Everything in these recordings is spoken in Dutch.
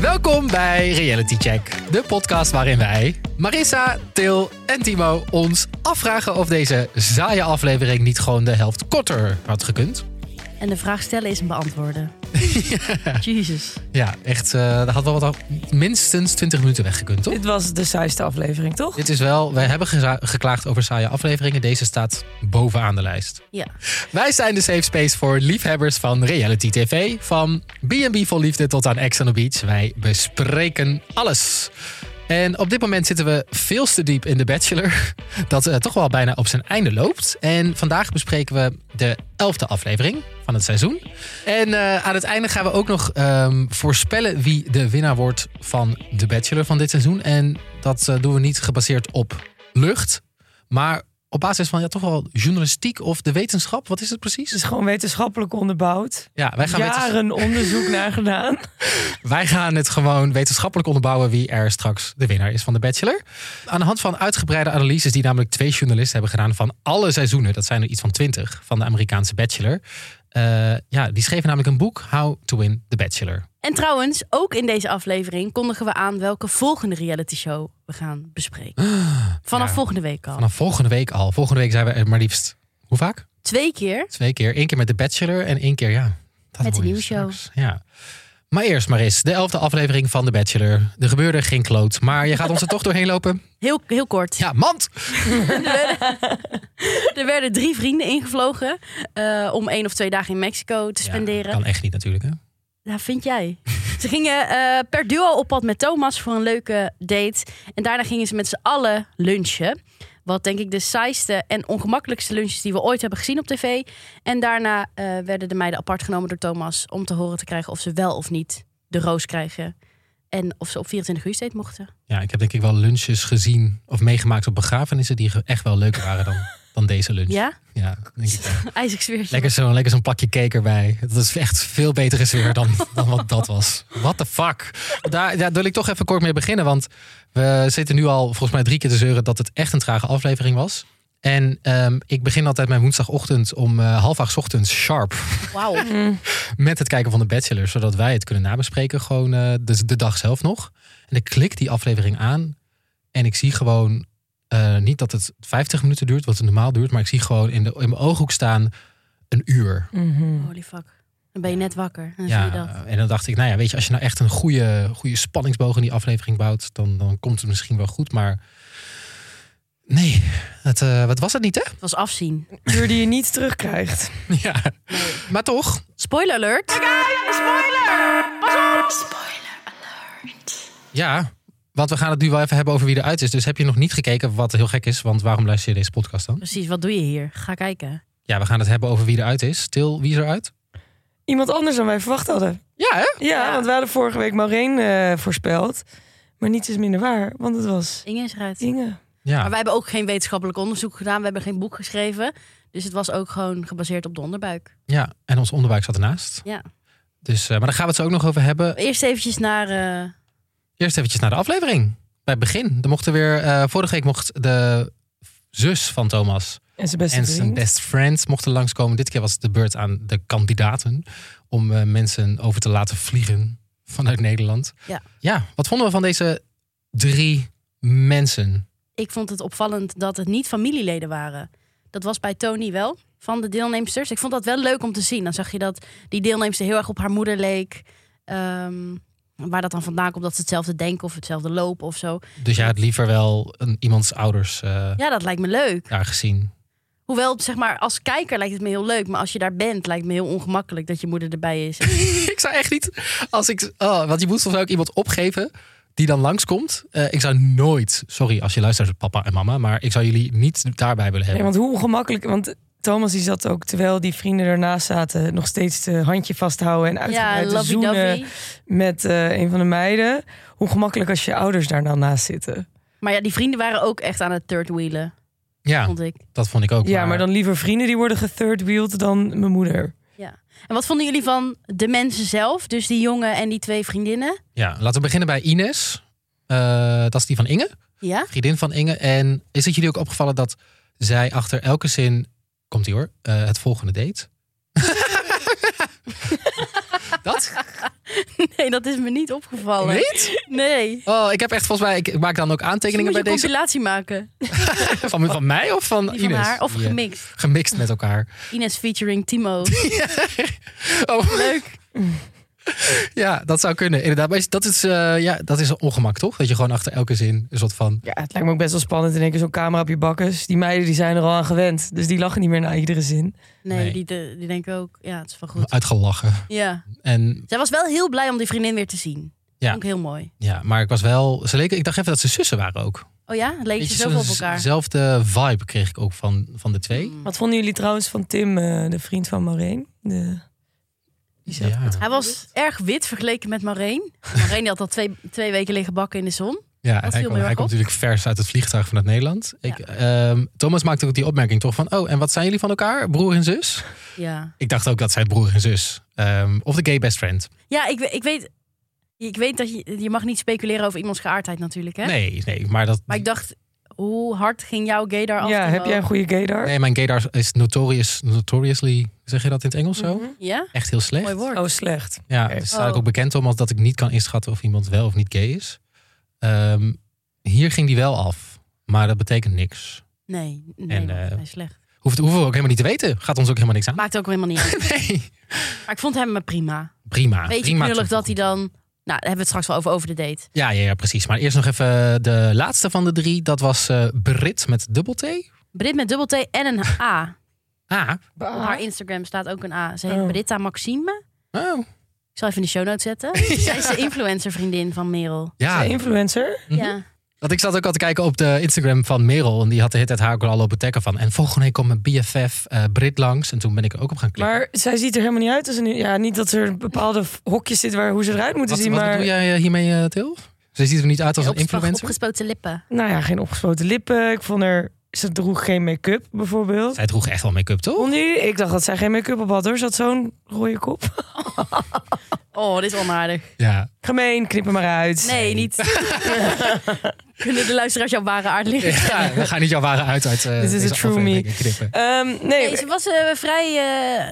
Welkom bij Reality Check, de podcast waarin wij, Marissa, Til en Timo, ons afvragen of deze saaie aflevering niet gewoon de helft korter had gekund. En de vraag stellen is een beantwoorden. Jezus. Ja, echt, eh daar had wel wat af- minstens 20 minuten weggekund, toch? Dit was de saaiste aflevering, toch? Dit is wel, we hebben geza- geklaagd over saaie afleveringen. Deze staat bovenaan de lijst. Ja. Wij zijn de safe space voor liefhebbers van reality tv. Van B&B vol liefde tot aan Ex on the Beach. Wij bespreken alles. En op dit moment zitten we veel te diep in The Bachelor. Dat eh, toch wel bijna op zijn einde loopt. En vandaag bespreken we de elfde aflevering van het seizoen. En eh, aan het einde gaan we ook nog ehm, voorspellen wie de winnaar wordt van The Bachelor van dit seizoen. En dat eh, doen we niet gebaseerd op lucht. Maar op basis van ja, toch wel journalistiek of de wetenschap. Wat is het Het is precies? gewoon wetenschappelijk onderbouwd. Ja, wij gaan, wetens- Jaren onderzoek naar gedaan. wij gaan het gewoon wetenschappelijk onderbouwen wie er straks de winnaar is van The Bachelor. Aan de hand van uitgebreide analyses die namelijk twee journalisten hebben gedaan van alle seizoenen. Dat zijn er iets van twintig van de Amerikaanse Bachelor. Eh, ja, die schreven namelijk een boek, How to Win the Bachelor. En trouwens, ook in deze aflevering kondigen we aan welke volgende reality show we gaan bespreken. Vanaf Ja. volgende week al. Vanaf volgende week al. Volgende week zijn we er maar liefst, hoe vaak? Twee keer. Twee keer. Eén keer met The Bachelor en één keer, ja. Dat Met de hoor je nieuwsshow. straks. Ja. Maar eerst maar eens, de elfde aflevering van The Bachelor. Er gebeurde geen kloot, maar je gaat ons er toch doorheen lopen. Heel, heel kort. Ja, mand! Er werden drie vrienden ingevlogen eh, om één of twee dagen in Mexico te spenderen. Ja, kan echt niet natuurlijk, hè? Ja, Nou, vind jij. ze gingen eh, per duo op pad met Thomas voor een leuke date. En daarna gingen ze met z'n allen lunchen. Wat denk ik de saaiste en ongemakkelijkste lunches die we ooit hebben gezien op tv. En daarna eh, werden de meiden apart genomen door Thomas om te horen te krijgen of ze wel of niet de roos krijgen. En of ze op 24 uur date mochten. Ja, ik heb denk ik wel lunches gezien of meegemaakt op begrafenissen die ge- echt wel leuker waren dan, dan deze lunch. Ja? Ja, denk ik wel. IJzig sfeertje. Lekker zo'n lekker zo'n plakje cake erbij. Dat is echt veel betere sfeer dan, dan wat dat was. What the fuck? Daar, daar wil ik toch even kort mee beginnen. Want we zitten nu al volgens mij drie keer te zeuren dat het echt een trage aflevering was. En ehm, ik begin altijd mijn woensdagochtend om eh, half acht 's ochtends sharp Wauw. met het kijken van de Bachelor. Zodat wij het kunnen nabespreken gewoon eh, de, de dag zelf nog. En ik klik die aflevering aan en ik zie gewoon eh, niet dat het 50 minuten duurt, wat het normaal duurt. Maar ik zie gewoon in, de, in mijn ooghoek staan een uur. Holy fuck. Dan ben je net wakker. En dan zie je dat. Ja, en dan dacht ik, nou ja, weet je, als je nou echt een goede, goede spanningsboog in die aflevering bouwt, dan, dan komt het misschien wel goed. Maar nee, het, eh, wat was het niet, hè? Het was afzien. Uur die je niet terugkrijgt. Ja. Maar toch, Spoiler alert. ja. Want we gaan het nu wel even hebben over wie eruit is. Dus heb je nog niet gekeken, wat heel gek is, want waarom luister je deze podcast dan? Precies, wat doe je hier? Ga kijken. Ja, we gaan het hebben over wie eruit is. Til, wie is eruit? Iemand anders dan wij verwacht hadden. Ja, hè? Ja, Ja. want we hadden vorige week Maureen eh, voorspeld. Maar niets is minder waar, want het was Inge is eruit. Inge. Ja. Maar wij hebben ook geen wetenschappelijk onderzoek gedaan. We hebben geen boek geschreven. Dus het was ook gewoon gebaseerd op de onderbuik. ja, en ons onderbuik zat ernaast. Ja. Dus, eh, maar daar gaan we het zo ook nog over hebben. Eerst eventjes naar... eh, Eerst eventjes naar de aflevering. Bij het begin. Er mochten weer, eh, vorige week mocht de zus van Thomas En zijn beste en zijn vriend. best friend mochten langskomen. Dit keer was het de beurt aan de kandidaten om eh, mensen over te laten vliegen vanuit Nederland. Ja. ja, wat vonden we van deze drie mensen? ik vond het opvallend dat het niet familieleden waren. Dat was bij Tony wel, van de deelnemsters. Ik vond dat wel leuk om te zien. Dan zag je dat die deelnemster heel erg op haar moeder leek. Ehm, waar dat dan vandaan komt, dat ze hetzelfde denken of hetzelfde lopen of zo. Dus jij had liever wel een, iemands ouders eh, Ja, dat lijkt me leuk. daar gezien. Hoewel, zeg maar, als kijker lijkt het me heel leuk. Maar als je daar bent, lijkt het me heel ongemakkelijk dat je moeder erbij is. ik zou echt niet, als ik, oh, want je moet soms ook iemand opgeven die dan langskomt. Eh, ik zou nooit, sorry als je luistert papa en mama, maar ik zou jullie niet daarbij willen Ja, hebben. want hoe ongemakkelijk... Want Thomas die zat ook, terwijl die vrienden ernaast zaten... nog steeds het handje vasthouden en ja, uitgebreid te zoenen lovey-dovey. met eh, een van de meiden. Hoe gemakkelijk als je ouders daar dan naast zitten. Maar ja, die vrienden waren ook echt aan het third wheelen, Ja, vond ik. dat vond ik ook. Ja, maar dan liever vrienden die worden gethirdwheeled dan mijn moeder. En wat vonden jullie van de mensen zelf? Dus die jongen en die twee vriendinnen? Ja, laten we beginnen bij Ines. Eh, dat is die van Inge, Ja? vriendin van Inge. En is het jullie ook opgevallen dat zij achter elke zin, komt ie hoor, eh, het volgende date. dat? Nee, dat is me niet opgevallen. Niet? Nee. Oh, ik heb echt volgens mij... Ik ik maak dan ook Misschien aantekeningen moet je bij een deze... compilatie maken. Van, van mij of van Die van Ines? haar. Of Ja. gemixt. Gemixt met elkaar. Ines featuring Timo. Oh, Leuk. ja, dat zou kunnen. Inderdaad. Maar is- dat is, eh, ja, dat is een ongemak, toch? Dat je gewoon achter elke zin een soort van... Ja, het lijkt me ook best wel spannend. In één keer zo'n camera op je bakkes. Die meiden die zijn er al aan gewend. Dus die lachen niet meer na iedere zin. Nee, Nee. Nou. Die, de- die denken ook, ja, het is wel goed. Uitgelachen. Ja. En Zij was wel heel blij om die vriendin weer te zien. Ja. Vond ik heel mooi. ja, maar ik was wel... Ze leken, ik dacht even dat ze zussen waren ook. Oh ja, het leek je Beetje zoveel op zo'n elkaar. Zelfde vibe kreeg ik ook van, van de twee. Mm. Wat vonden jullie trouwens van Tim, eh, de vriend van Maureen? De... Die zelf- Ja. Hij was erg wit vergeleken met Maureen. Maureen die had al twee, twee weken liggen bakken in de zon. Ja, hij, viel me kwam- heel hij erg komt op. natuurlijk vers uit het vliegtuig vanuit Nederland. Ik, ehm, Thomas maakte ook die opmerking toch van... oh, en wat zijn jullie van elkaar? Broer en zus? Ja, Ik dacht ook dat zij broer en zus. ehm, of de gay best friend. ja ik, we- ik weet... Ik weet dat je, je mag niet speculeren over iemands geaardheid natuurlijk, hè? Nee, nee, maar dat... Maar ik dacht, hoe hard ging jouw gaydar af? Ja, heb jij een goede gaydar? Nee, mijn gaydar is notorious, notoriously... Zeg je dat in het Engels zo? Mhm. Ja? Echt heel slecht. Mooi woord. Oh, slecht. Ja, Oké. daar sta ik Oh. ook bekend om als dat ik niet kan inschatten of iemand wel of niet gay is. Ehm, hier ging die wel af, maar dat betekent niks. Nee, nee, En, man, eh, hij is slecht. Hoeft, hoeven we ook helemaal niet te weten. Gaat ons ook helemaal niks aan. Maakt ook helemaal niet uit. Nee. Maar ik vond hem maar prima. Prima. Beetje prima knullig dat hij toevoeging. dan... Nou, daar hebben we het straks wel over, over de date. Ja, ja, ja, precies. Maar eerst nog even de laatste van de drie. Dat was eh, Brit met dubbel T. Brit met dubbel T en een A. Ah. Op haar Instagram staat ook een A. Ze heet Oh. Britta Maxime. Oh. Ik zal even in de show notes zetten. Zij is de influencer vriendin van Merel. Is Ja, hij influencer? Mhm. Ja. want ik zat ook al te kijken op de Instagram van Merel. En die had de hit het haar ook al op tekken van. En volgende week komt mijn BFF eh, Brit langs. En toen ben ik er ook op gaan klikken. Maar zij ziet er helemaal niet uit als een... Ja, niet dat er bepaalde v- hokjes zitten waar hoe ze eruit moeten wat, zien, wat maar... doe jij eh, hiermee, eh, Til? Ze ziet er niet uit als een Opgespo- influencer. Opgespoten lippen. Nou ja, geen opgespoten lippen. Ik vond er... Ze droeg geen make-up, bijvoorbeeld. Zij droeg echt wel make-up, toch? Vonden jullie? Ik dacht dat zij geen make-up op had, hoor. Ze had zo'n rode kop. Oh, dit is onaardig. Ja. Gemeen, knip hem maar uit. Nee, niet. Kunnen de luisteraars jouw ware aard liggen? ja we gaan niet jouw ware uit uit eh Dit is deze a true aflevering me. knippen. Ehm, nee, Nee, ze was eh, vrij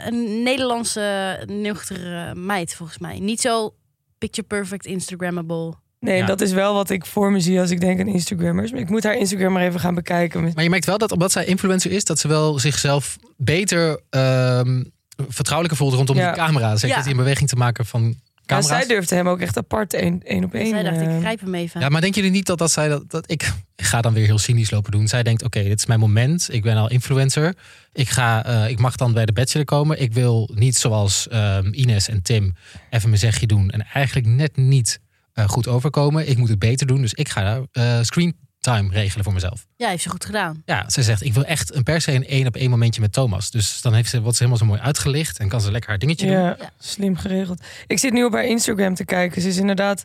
eh, een Nederlandse eh, nuchtere meid, volgens mij. Niet zo picture perfect Instagrammable. nee Ja. dat is wel wat ik voor me zie als ik denk aan Instagrammers. Maar ik moet haar Instagram maar even gaan bekijken. Maar je merkt wel dat omdat zij influencer is, dat ze wel zichzelf beter ehm, vertrouwelijker voelt rondom Ja. die camera. Ze heeft Ja. het in beweging te maken van Ja, camera's. zij durfde hem ook echt apart één één op één. Zij dacht, ik eh, grijp hem even. Ja, maar denken jullie niet dat, dat zij dat, dat ik, ik ga dan weer heel cynisch lopen doen? Zij denkt: oké, dit is mijn moment. Ik ben al influencer. Ik, ga, eh, ik mag dan bij de bachelor komen. Ik wil niet zoals ehm, Ines en Tim even mijn zegje doen en eigenlijk net niet eh, goed overkomen. Ik moet het beter doen. Dus ik ga eh screen time regelen voor mezelf. Ja, heeft ze goed gedaan. Ja, ze zegt: ik wil echt een per se een één op één momentje met Thomas. Dus dan heeft ze wat ze helemaal zo mooi uitgelicht en kan ze lekker haar dingetje doen. Ja, Ja. slim geregeld. Ik zit nu op haar Instagram te kijken. Ze is inderdaad.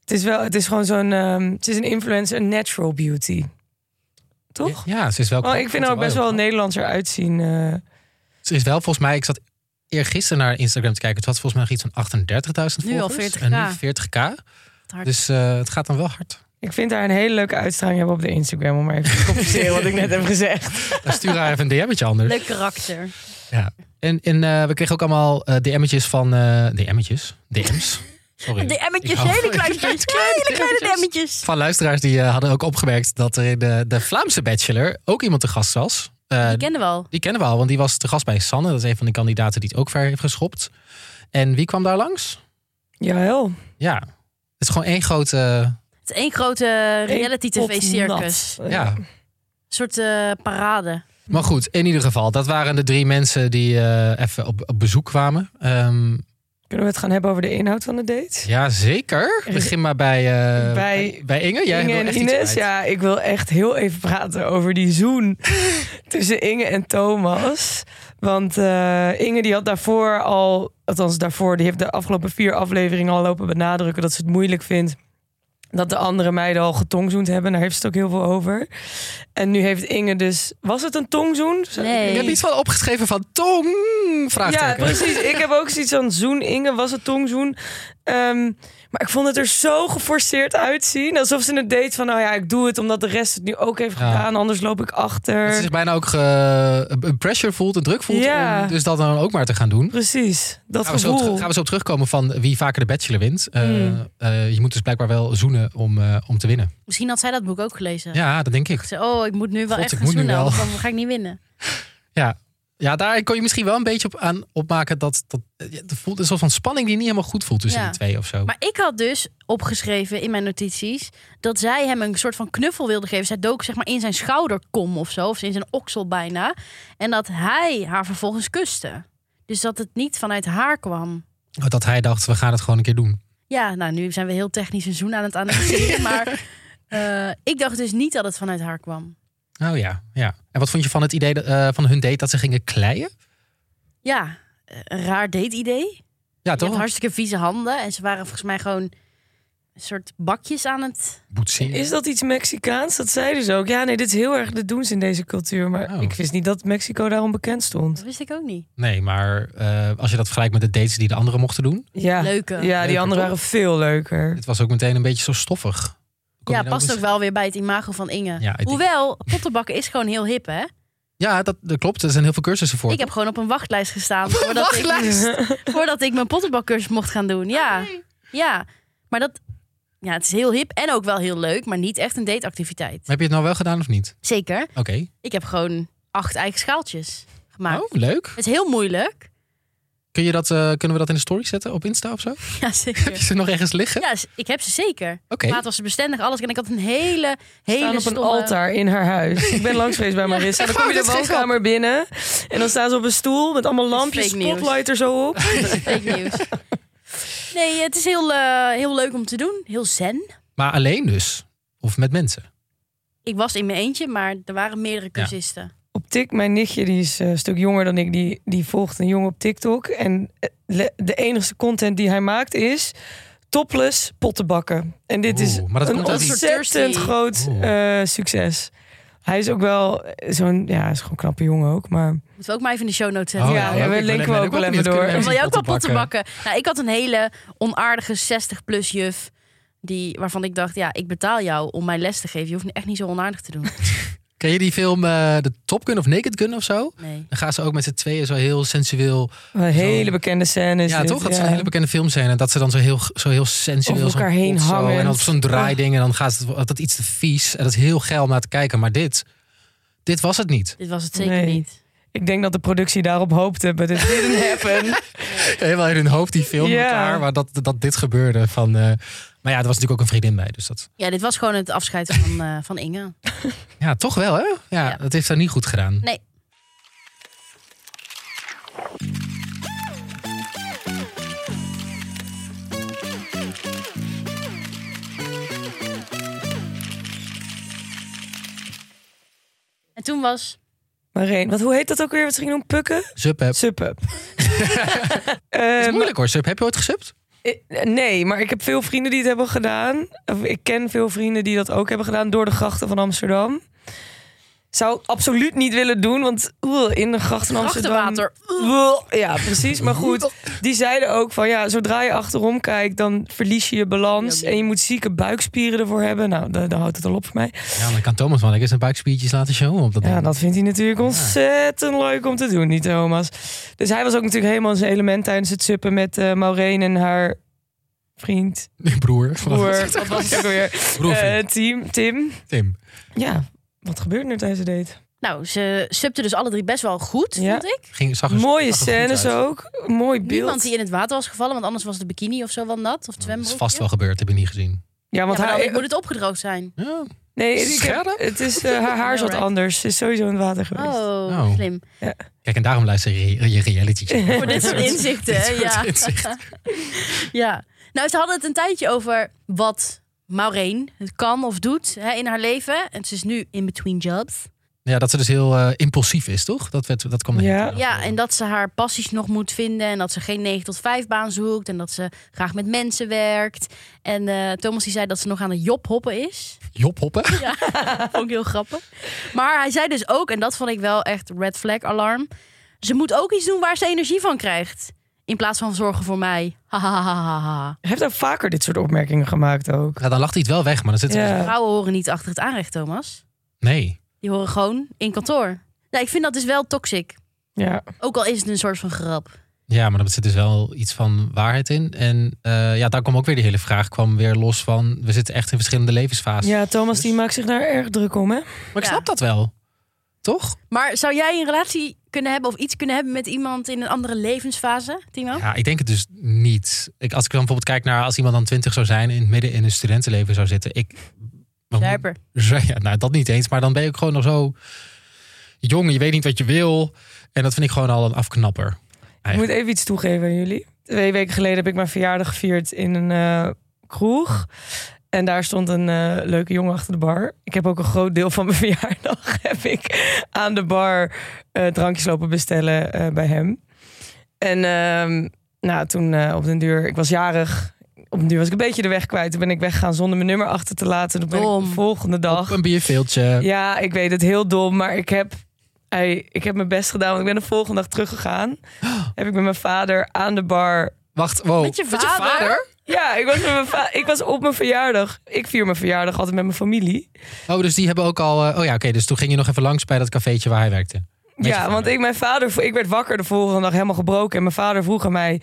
Het is wel, het is gewoon zo'n. ehm, het is een influencer, een natural beauty. Toch? Ja, ze is wel. Oh, ik vind haar ook best wel Nederlands eruit zien. eh. Ze is wel volgens mij, ik zat eergisteren naar haar Instagram te kijken. Het had volgens mij nog iets van 38.000 Nu al volgers. 40k. En nu 40k. Het hart. Dus eh, het gaat dan wel hard. ik vind haar een hele leuke uitstraling hebben op de Instagram. Om maar even te compenseren wat ik net heb gezegd. Dan stuur haar even een DM'tje anders. Leuk karakter. En, en eh, we kregen ook allemaal eh, DM'tjes van... eh DM'tjes? DM's? Sorry. De emmetjes, Ik hou- hele kleine, hele kleine emmetjes. Van luisteraars die eh, hadden ook opgemerkt dat er in de, de Vlaamse Bachelor ook iemand te gast was. Eh, Die kennen we al. die kennen we al, want die was te gast bij Sanne. Dat is een van de kandidaten die het ook ver heeft geschopt. En wie kwam daar langs? Jawel. Ja, het is gewoon één grote... Het is één grote reality Pot tv-circus. nat. ja, Een soort eh, parade. Maar goed, in ieder geval, dat waren de drie mensen die eh, even op, op bezoek kwamen. Ehm Kunnen we het gaan hebben over de inhoud van de date? ja, zeker. Begin maar bij, eh, Bij- bij Inge. Jij Inge wil en echt iets Ines, kwijt. ja, ik wil echt heel even praten over die zoen tussen Inge en Thomas. Want eh, Inge die had daarvoor al, althans daarvoor, die heeft de afgelopen vier afleveringen al lopen benadrukken dat ze het moeilijk vindt dat de andere meiden al getongzoend hebben. Daar heeft ze het ook heel veel over. En nu heeft Inge dus, was het een tongzoen? Zou- Nee. Ik heb iets van opgeschreven van tong, Ja, vraagteken. precies. Ik heb ook zoiets van zoen Inge, was het tongzoen? Ehm, maar ik vond het er zo geforceerd uitzien. Alsof ze het deed van, nou ja, ik doe het omdat de rest het nu ook heeft Ja. gedaan. Anders loop ik Dat achter. ze zich bijna ook ge- een pressure voelt, een druk voelt. Ja. Om dus dat dan ook maar te gaan doen. Precies, dat Gaan we, zo op, gevoel. gaan we zo op terugkomen van wie vaker de bachelor wint. Eh, Hmm. eh, je moet dus blijkbaar wel zoenen om, eh, om te winnen. Misschien had zij dat boek ook gelezen. Ja, dat denk ik. Ze- Oh, ik moet nu wel God, echt ik gaan moet nu zoenen, wel. want dan ga ik niet winnen. Ja, daar kon je misschien wel een beetje op aan opmaken dat dat eh, ja, het voelt een soort van spanning die niet helemaal goed voelt tussen Ja. die twee of zo. Maar ik had dus opgeschreven in mijn notities dat zij hem een soort van knuffel wilde geven. Zij dook zeg maar in zijn schouderkom of zo, of in zijn oksel bijna. En dat hij haar vervolgens kuste. Dus dat het niet vanuit haar kwam. Oh, Dat hij dacht, we gaan het gewoon een keer doen. Ja, nou nu zijn we heel technisch een zoen aan het analyseren, maar eh, ik dacht dus niet dat het vanuit haar kwam. Oh ja, ja. En wat vond je van het idee dat, eh, van hun date dat ze gingen kleien? Ja, eh, een raar Ah, date-idee. Ja, Je toch? hebt hartstikke vieze handen. En ze waren volgens mij gewoon een soort bakjes aan het... Boetseren. Is dat iets Mexicaans? Dat zeiden ze ook. Ja, nee, dit is heel erg, dat doen ze in deze cultuur. Maar Oh. ik wist niet dat Mexico daarom bekend Dat stond. wist ik ook niet. Nee, maar eh, als je dat vergelijkt met de dates die de anderen mochten doen. Ja, Leuke. ja die Leuker, anderen toch? waren veel leuker. Het was ook meteen een beetje zo stoffig. Kom ja, je nou past eens- ook wel weer bij het imago van Inge. Ja, ik denk- Hoewel, pottenbakken is gewoon heel hip, hè? Ja, dat, dat klopt. Er zijn heel veel cursussen voor. Ik heb gewoon op een wachtlijst gestaan voordat, Ik, voordat ik mijn pottenbakcursus mocht gaan doen. Ja, ja. maar dat... Ja, het is heel hip en ook wel heel leuk, maar niet echt een dateactiviteit. Maar heb je het nou wel gedaan of niet? Zeker. Oké. Ik heb gewoon acht eigen schaaltjes gemaakt. Oh, leuk. Het is heel moeilijk. Kun je dat, eh, kunnen we dat in de story zetten op Insta of zo? Ja, Heb je zeker. ze nog ergens liggen? Ja, ik heb ze zeker. Oké. Maat was ze bestendig, alles. En ik had een hele, hele staan op een stomme- altaar in haar huis. Ik ben langs geweest bij Marissa. Dan kom je Waar de is het woonkamer binnen. En dan staan ze op een stoel met allemaal lampjes, fake nieuws. spotlight er zo op. fake nieuws. Nee, het is heel, eh, heel leuk om te doen. Heel zen. Maar alleen dus? Of met mensen? Ik was in mijn eentje, maar er waren meerdere cursisten. Op Tik, mijn nichtje, die is eh, een stuk jonger dan ik, die, die volgt een jongen op TikTok. En eh, le- de enige content die hij maakt is topless pottenbakken. En dit is Oeh, maar dat een komt uit die- ontzettend Thirsty. groot Oeh. eh, succes. Hij is ook wel eh, zo'n, ja, hij is gewoon een knappe jongen ook, maar... Moeten we ook maar even in de show notes zetten. Oh, ja, leuk. we Ik ben- linken ben we ook wel benieuwd. even Kunnen door. Dan mensen wil je ook wel potten potten bakken. Nou, ik had een hele onaardige 60-plus juf. Die, waarvan ik dacht, ja, ik betaal jou om mij les te geven. Je hoeft echt niet zo onaardig te doen. Ken je die film eh, de Top Gun of Naked Gun of zo? Nee. Dan gaan ze ook met z'n tweeën zo heel sensueel. Een hele bekende scène is ja, dit, toch? Dat is ja. een hele bekende film zijn. En dat ze dan zo heel, zo heel sensueel Over zo'n elkaar heen pot zo, hangend. En dan op zo'n draaiding. En dan gaat het, dat iets te vies. En dat is heel geil om naar te kijken. Maar dit, dit was het niet. Dit was het zeker Nee. niet. Ik denk dat de productie daarop hoopte, but it didn't happen. Helemaal in hun hoofd die film Ja. met elkaar. Maar dat, dat dit gebeurde. Van, eh, maar ja, er was natuurlijk ook een vriendin bij. Dus dat, Ja, dit was gewoon het afscheid van, eh, van Inge. ja, toch wel hè? Ja, Ja. dat heeft haar niet goed gedaan. Nee. En toen was maar één, wat, hoe heet dat ook weer? Wat ze gingen doen? Pukken? Sub heb. Suppen. Het Ehm, is moeilijk hoor. Sub, heb je ooit gesubt? eh, nee, maar ik heb veel vrienden die het hebben gedaan. Of ik ken veel vrienden die dat ook hebben gedaan door de grachten van Amsterdam. Zou ik absoluut niet willen doen, want oeh, in de grachten van Amsterdam... achterwater. Oeh, Ja, precies. Maar goed, die zeiden ook van ja, zodra je achterom kijkt, dan verlies je je balans. En je moet zieke buikspieren ervoor hebben. Nou, da- dan houdt het al op voor mij. Ja, maar dan kan Thomas wel lekker zijn buikspiertjes laten showen op dat Ja, ding. dat vindt hij natuurlijk ontzettend leuk om te doen, niet Thomas? Dus hij was ook natuurlijk helemaal in zijn element tijdens het suppen met eh Maureen en haar vriend, Broer. broer, wat was het ook alweer? Broer, Eh, vriend, team, Tim. Tim. Ja, wat gebeurt er tijdens de date? Nou, ze subten dus alle drie best wel goed, Ja. vond ik. Ging, zag er- Mooie zag er goed scènes uit. ook, mooi Niemand beeld. die in het water was gevallen, want anders was de bikini of zo wel nat. Of het Dat is zwembroekje. vast wel gebeurd, heb ik niet gezien. Ja, Ja, want maar dan haar, moet het opgedroogd zijn. Ja. nee, ik heb- Scherp? het is, eh, haar haar zat Alright. anders. Ze is sowieso in het water geweest. Oh, Nou. slim. Kijk, en daarom luister je re- je reality check. Voor dit soort inzichten, hè? Dit soort ja. inzichten. Ja, nou, ze hadden het een tijdje over wat Maureen het kan of doet hè, in haar leven. En ze is nu in between jobs. Ja, dat ze dus heel eh, impulsief is, toch? Dat, werd, dat kwam er Ja. heel- Ja, en dat ze haar passies nog moet vinden. En dat ze geen 9 tot 5 baan zoekt. En dat ze graag met mensen werkt. En eh, Thomas die zei dat ze nog aan het job hoppen is. Job hoppen. Ook heel grappig. Maar hij zei dus ook, en dat vond ik wel echt red flag alarm. Ze moet ook iets doen waar ze energie van krijgt. In plaats van zorgen voor mij. Hahaha. Hij heeft ook vaker dit soort opmerkingen gemaakt ook. Ja, dan lacht hij het wel weg, maar dan zit er... Ja. Vrouwen horen niet achter het aanrecht, Thomas. Nee. Die horen gewoon in kantoor. Nou, ik vind dat dus wel toxic. ja. Ook al is het een soort van grap. Ja, maar er zit dus wel iets van waarheid in. En eh, ja, daar kwam ook weer die hele vraag kwam weer los van... we zitten echt in verschillende levensfases. Ja, Thomas die maakt zich daar erg druk om, hè? Maar ik Ja. snap dat wel. Toch? Maar zou jij een relatie kunnen hebben of iets kunnen hebben met iemand in een andere levensfase, Timo? Nou? Ja, ik denk het dus niet. Ik, als ik dan bijvoorbeeld kijk naar als iemand dan twintig zou zijn... in het midden in een studentenleven zou zitten... Ik, Zuiper. Zo, ja, nou, dat niet eens. Maar dan ben je ook gewoon nog zo jong. Je weet niet wat je wil. En dat vind ik gewoon al een afknapper. Ik moet even iets toegeven aan jullie. Twee weken geleden heb ik mijn verjaardag gevierd in een eh, kroeg. En daar stond een eh, leuke jongen achter de bar. Ik heb ook een groot deel van mijn verjaardag heb ik aan de bar eh, drankjes lopen bestellen eh, bij hem. En ehm, nou, toen eh, op den duur, ik was jarig. Op den duur was ik een beetje de weg kwijt. Toen ben ik weggegaan zonder mijn nummer achter te laten. Toen ben ik Dom. de volgende dag Op een bierveeltje. ja, ik weet het heel dom, maar ik heb, ei, ik heb mijn best gedaan. Want ik ben de volgende dag teruggegaan. Heb ik met mijn vader aan de bar. Wacht, wow. Met je vader? Ja, ik was, met mijn va- ik was op mijn verjaardag. Ik vier mijn verjaardag altijd met mijn familie. Oh, dus die hebben ook al... eh, oh ja, oké. dus toen ging je nog even langs bij dat cafeetje waar hij werkte. Met je ja, vader. want ik, mijn vader, vo- ik werd wakker de volgende dag helemaal gebroken. En mijn vader vroeg aan mij: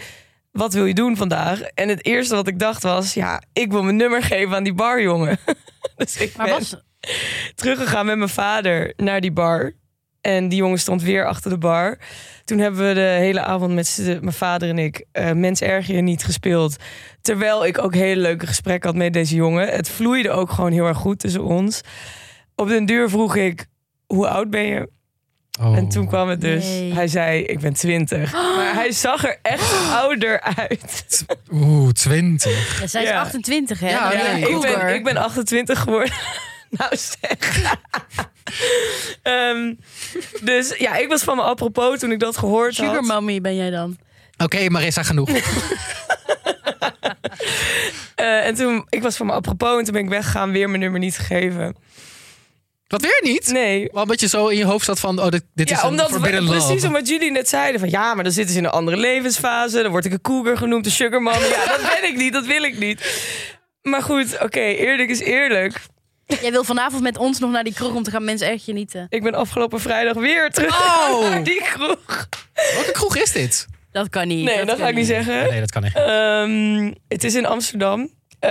Wat wil je doen vandaag? En het eerste wat ik dacht was: Ja, ik wil mijn nummer geven aan die barjongen. dus ik Maar ben was, teruggegaan met mijn vader naar die bar. En die jongen stond weer achter de bar. Toen hebben we de hele avond met z'n- mijn vader en ik eh, Mens Erger Je Niet gespeeld. Terwijl ik ook hele leuke gesprekken had met deze jongen. Het vloeide ook gewoon heel erg goed tussen ons. Op den duur vroeg ik, hoe oud ben je? Oh. En toen kwam het dus. Nee. Hij zei, ik ben twintig. Maar hij zag er echt ouder uit. Oeh, twintig. ja, zij is Ja. 28, hè? Ja, Dan ben je Oh, nee, een ik, cougar. ben, ik ben 28 geworden. nou zeg. Ehm, dus ja, ik was van me apropos toen ik dat gehoord Sugar had. mommy ben jij dan. Oké, Marissa, genoeg. Eh, en toen, ik was van me apropos en toen ben ik weggegaan, weer mijn nummer niet gegeven. Wat weer niet? Nee. Wel Omdat je zo in je hoofd zat van... Oh, dit, dit is Ja, een omdat we- forbidden love. precies omdat jullie net zeiden van ja, maar dan zitten ze in een andere levensfase. Dan word ik een cougar genoemd, een sugar mom. Ja, dat ben ik niet, dat wil ik niet. Maar goed, oké, eerlijk is eerlijk. Jij wil vanavond met ons nog naar die kroeg om te gaan mensen echt genieten. Ik ben afgelopen vrijdag weer terug Oh. naar die kroeg. Welke kroeg is dit? Dat kan niet. Nee, dat kan ga ik niet zeggen. Nee, dat kan echt. Ehm, het is in Amsterdam. Eh,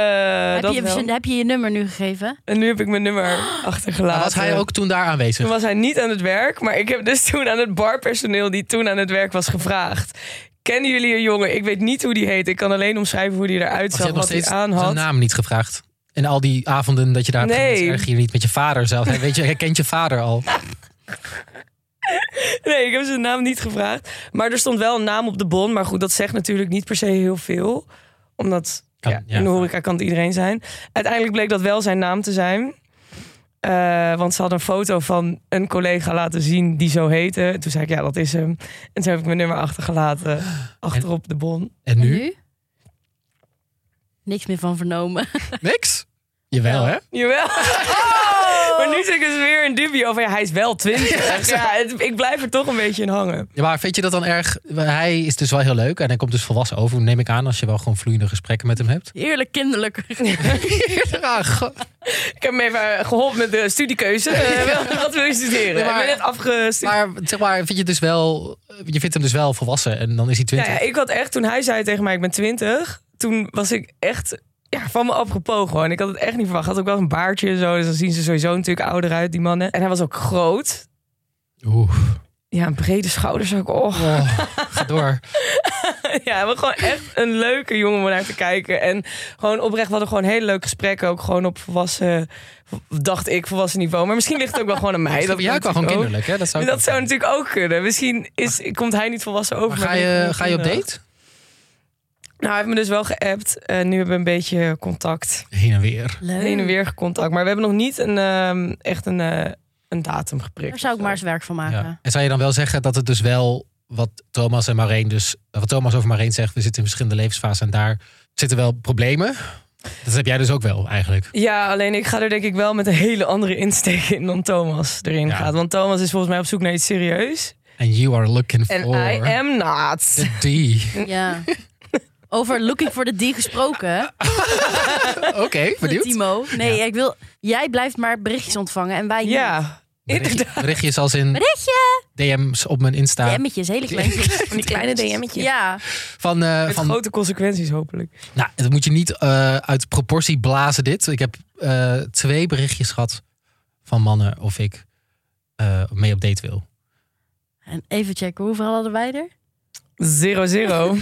Heb dat je, Ah! wel. heb je je nummer nu gegeven? En nu heb ik mijn nummer Maar achtergelaten. was hij ook toen daar aanwezig? Toen was hij niet aan het werk, maar ik heb dus toen aan het barpersoneel die toen aan het werk was gevraagd. Kennen jullie een jongen? Ik weet niet hoe die heet. Ik kan alleen omschrijven hoe die eruit Of je zag, hebt nog wat hij steeds aan zijn had. naam niet gevraagd. En al die avonden dat je daar Nee. nee. erg je niet met je vader zelf. Hij, weet je, hij kent je vader al. Nee, ik heb zijn naam niet gevraagd. Maar er stond wel een naam op de bon. Maar goed, dat zegt natuurlijk niet per se heel veel. Omdat Kan, ja, ja. in de horeca kan het iedereen zijn. Uiteindelijk bleek dat wel zijn naam te zijn. Eh, want ze had een foto van een collega laten zien die zo heette. Toen zei ik, ja, dat is hem. En toen heb ik mijn nummer achtergelaten. Achterop de bon. En En nu? Niks meer van vernomen. Niks? Jawel, hè? Jawel. Oh! maar nu zit ik dus weer in dubio over, ja, hij is wel 20. Ja, het- ik blijf er toch een beetje in hangen. Ja, maar vind je dat dan erg? Hij is dus wel heel leuk en hij komt dus volwassen over, neem ik aan, als je wel gewoon vloeiende gesprekken met hem hebt. Eerlijk kinderlijk. Ja, go- Ik heb hem even eh, geholpen met de studiekeuze. Eh, wel, Wat wil je studeren? Nee, maar- ik ben net afgestudeerd. maar zeg maar, vind je dus wel, je vindt hem dus wel volwassen en dan is hij Nou twintig. ja, ik had echt, toen hij zei tegen mij, ik ben 20, toen was ik echt ja, van me apropos gewoon. Ik had het echt niet verwacht. Had ook wel een baardje en zo, dus dan zien ze sowieso natuurlijk ouder uit, die mannen. En hij was ook groot. Oeh, Ja, een brede schouders ook. Oh. Oh, ga door. Ja, hij was gewoon echt een leuke jongen om naar te kijken. En gewoon oprecht, we hadden gewoon hele leuke gesprekken. Ook gewoon op volwassen, dacht ik, volwassen niveau. Maar misschien ligt het ook wel gewoon aan mij. dat jij kan kwam gewoon natuurlijk ook. kinderlijk, hè? Dat zou, ik Dat ook zou doen. natuurlijk ook kunnen. Misschien is, komt hij niet volwassen over. Maar maar ga ik je, ben ga je op kinderlijk. date? Nou, hij heeft me dus wel geappt. En nu hebben we een beetje contact. Heen en weer. Leuk. Heen en weer contact. Maar we hebben nog niet een, ehm, echt een, eh, een datum Daar geprikt. zou ik maar eens werk van maken. Ja. En zou je dan wel zeggen dat het dus wel wat Thomas en Marijn dus wat Thomas over Marijn zegt, we zitten in verschillende levensfasen en daar zitten wel problemen. Dat heb jij dus ook wel eigenlijk. Ja, alleen ik ga er denk ik wel met een hele andere insteek in dan Thomas erin Ja. gaat. Want Thomas is volgens mij op zoek naar iets serieus. And you are looking En for I am not. the D. Ja. Over Looking for the D gesproken, Oké, benieuwd. Timo. Nee, ik wil... Jij blijft maar berichtjes ontvangen en wij niet. Ja, Bericht- inderdaad. Berichtjes als in Berichtje! DM's op mijn Insta. DM'tjes, hele kleine Van die kleine DM'tjes. Ja, Van, eh, Met van, grote consequenties hopelijk. nou, dat moet je niet eh, uit proportie blazen dit. Ik heb eh, twee berichtjes gehad van mannen of ik eh, mee op date wil. en even checken, hoeveel hadden wij er? Zero, zero.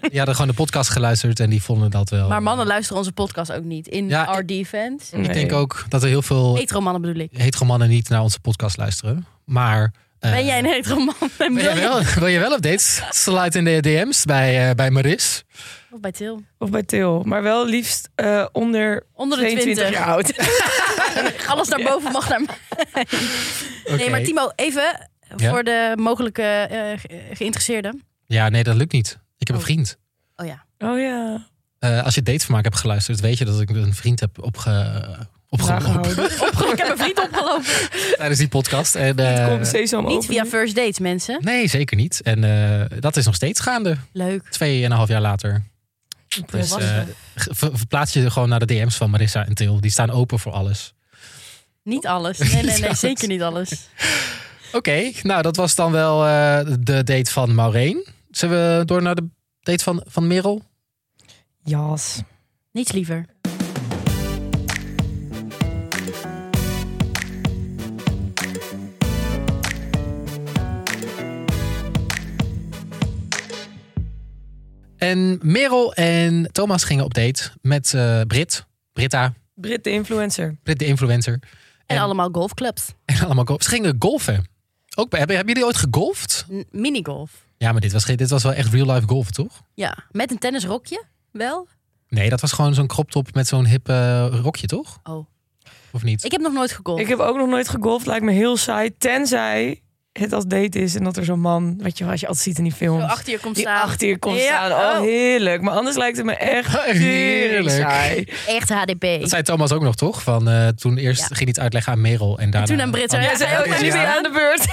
Die hadden gewoon de podcast geluisterd en die vonden dat wel. Maar mannen luisteren onze podcast ook niet in Oh. Ja, our defense. Ik denk ook dat er heel veel Hetero mannen bedoel ik. hetero mannen niet naar onze podcast luisteren. Maar. eh, Ben jij een hetero man? wil je wel, wil je wel updates? Slide in de DM's bij, eh, bij Maris. Of bij Til. Of bij Til. Maar wel liefst eh, onder, Onder de 22 20. jaar oud. Alles daarboven mag naar mij. Nee, maar Oké. Timo, even Ja? voor de mogelijke eh, ge- geïnteresseerden. Ja, nee, dat lukt niet. Ik heb een Oh. vriend. Oh ja. Oh ja. Eh, als je datevermaak hebt geluisterd, weet je dat ik een vriend heb opge... opgelopen Nagehouden. Ik heb een vriend opgelopen. tijdens die podcast. En, eh, Kom, sesam Niet open. via first dates, mensen. nee, zeker niet. En eh, dat is nog steeds gaande, Leuk. twee en een half jaar later. Dus eh, Volwassen. ver- verplaats je gewoon naar de DM's van Marissa en Til. Die staan open voor alles. Oh. Niet alles. Nee, nee, nee, Ja. zeker niet alles. Oké, nou dat was dan wel eh, de date van Maureen. Zullen we door naar de date van, van Merel? Jas. Niets liever. En Merel en Thomas gingen op date met eh, Brit. Britta, Brit de influencer. Brit de influencer. En En- allemaal golfclubs. En allemaal golf. Ze gingen golfen. Ook bij, hebben, hebben jullie ooit gegolfd? N- Minigolf. Ja, maar dit was, geen- dit was wel echt real-life golfen, toch? Ja. Met een tennisrokje? Wel? Nee, dat was gewoon zo'n crop top met zo'n hip eh, rokje, toch? Oh. Of niet? Ik heb nog nooit gegolfd. Ik heb ook nog nooit gegolfd. Lijkt me heel saai. Tenzij het als date is en dat er zo'n man, weet je wel, als je altijd ziet in die films. Zo achter je komt die staan. achter je komt Ja, staan. Oh, oh. heerlijk. Maar anders lijkt het me echt Heerlijk. heerlijk saai. Echt HDP. Dat zei Thomas ook nog, toch? Van, eh, toen eerst Ja. ging hij het uitleggen aan Merel. En daarna... toen aan Britta. Oh, Ja, Jij zei ook, ja, maar nu ja. ben je aan de beurt.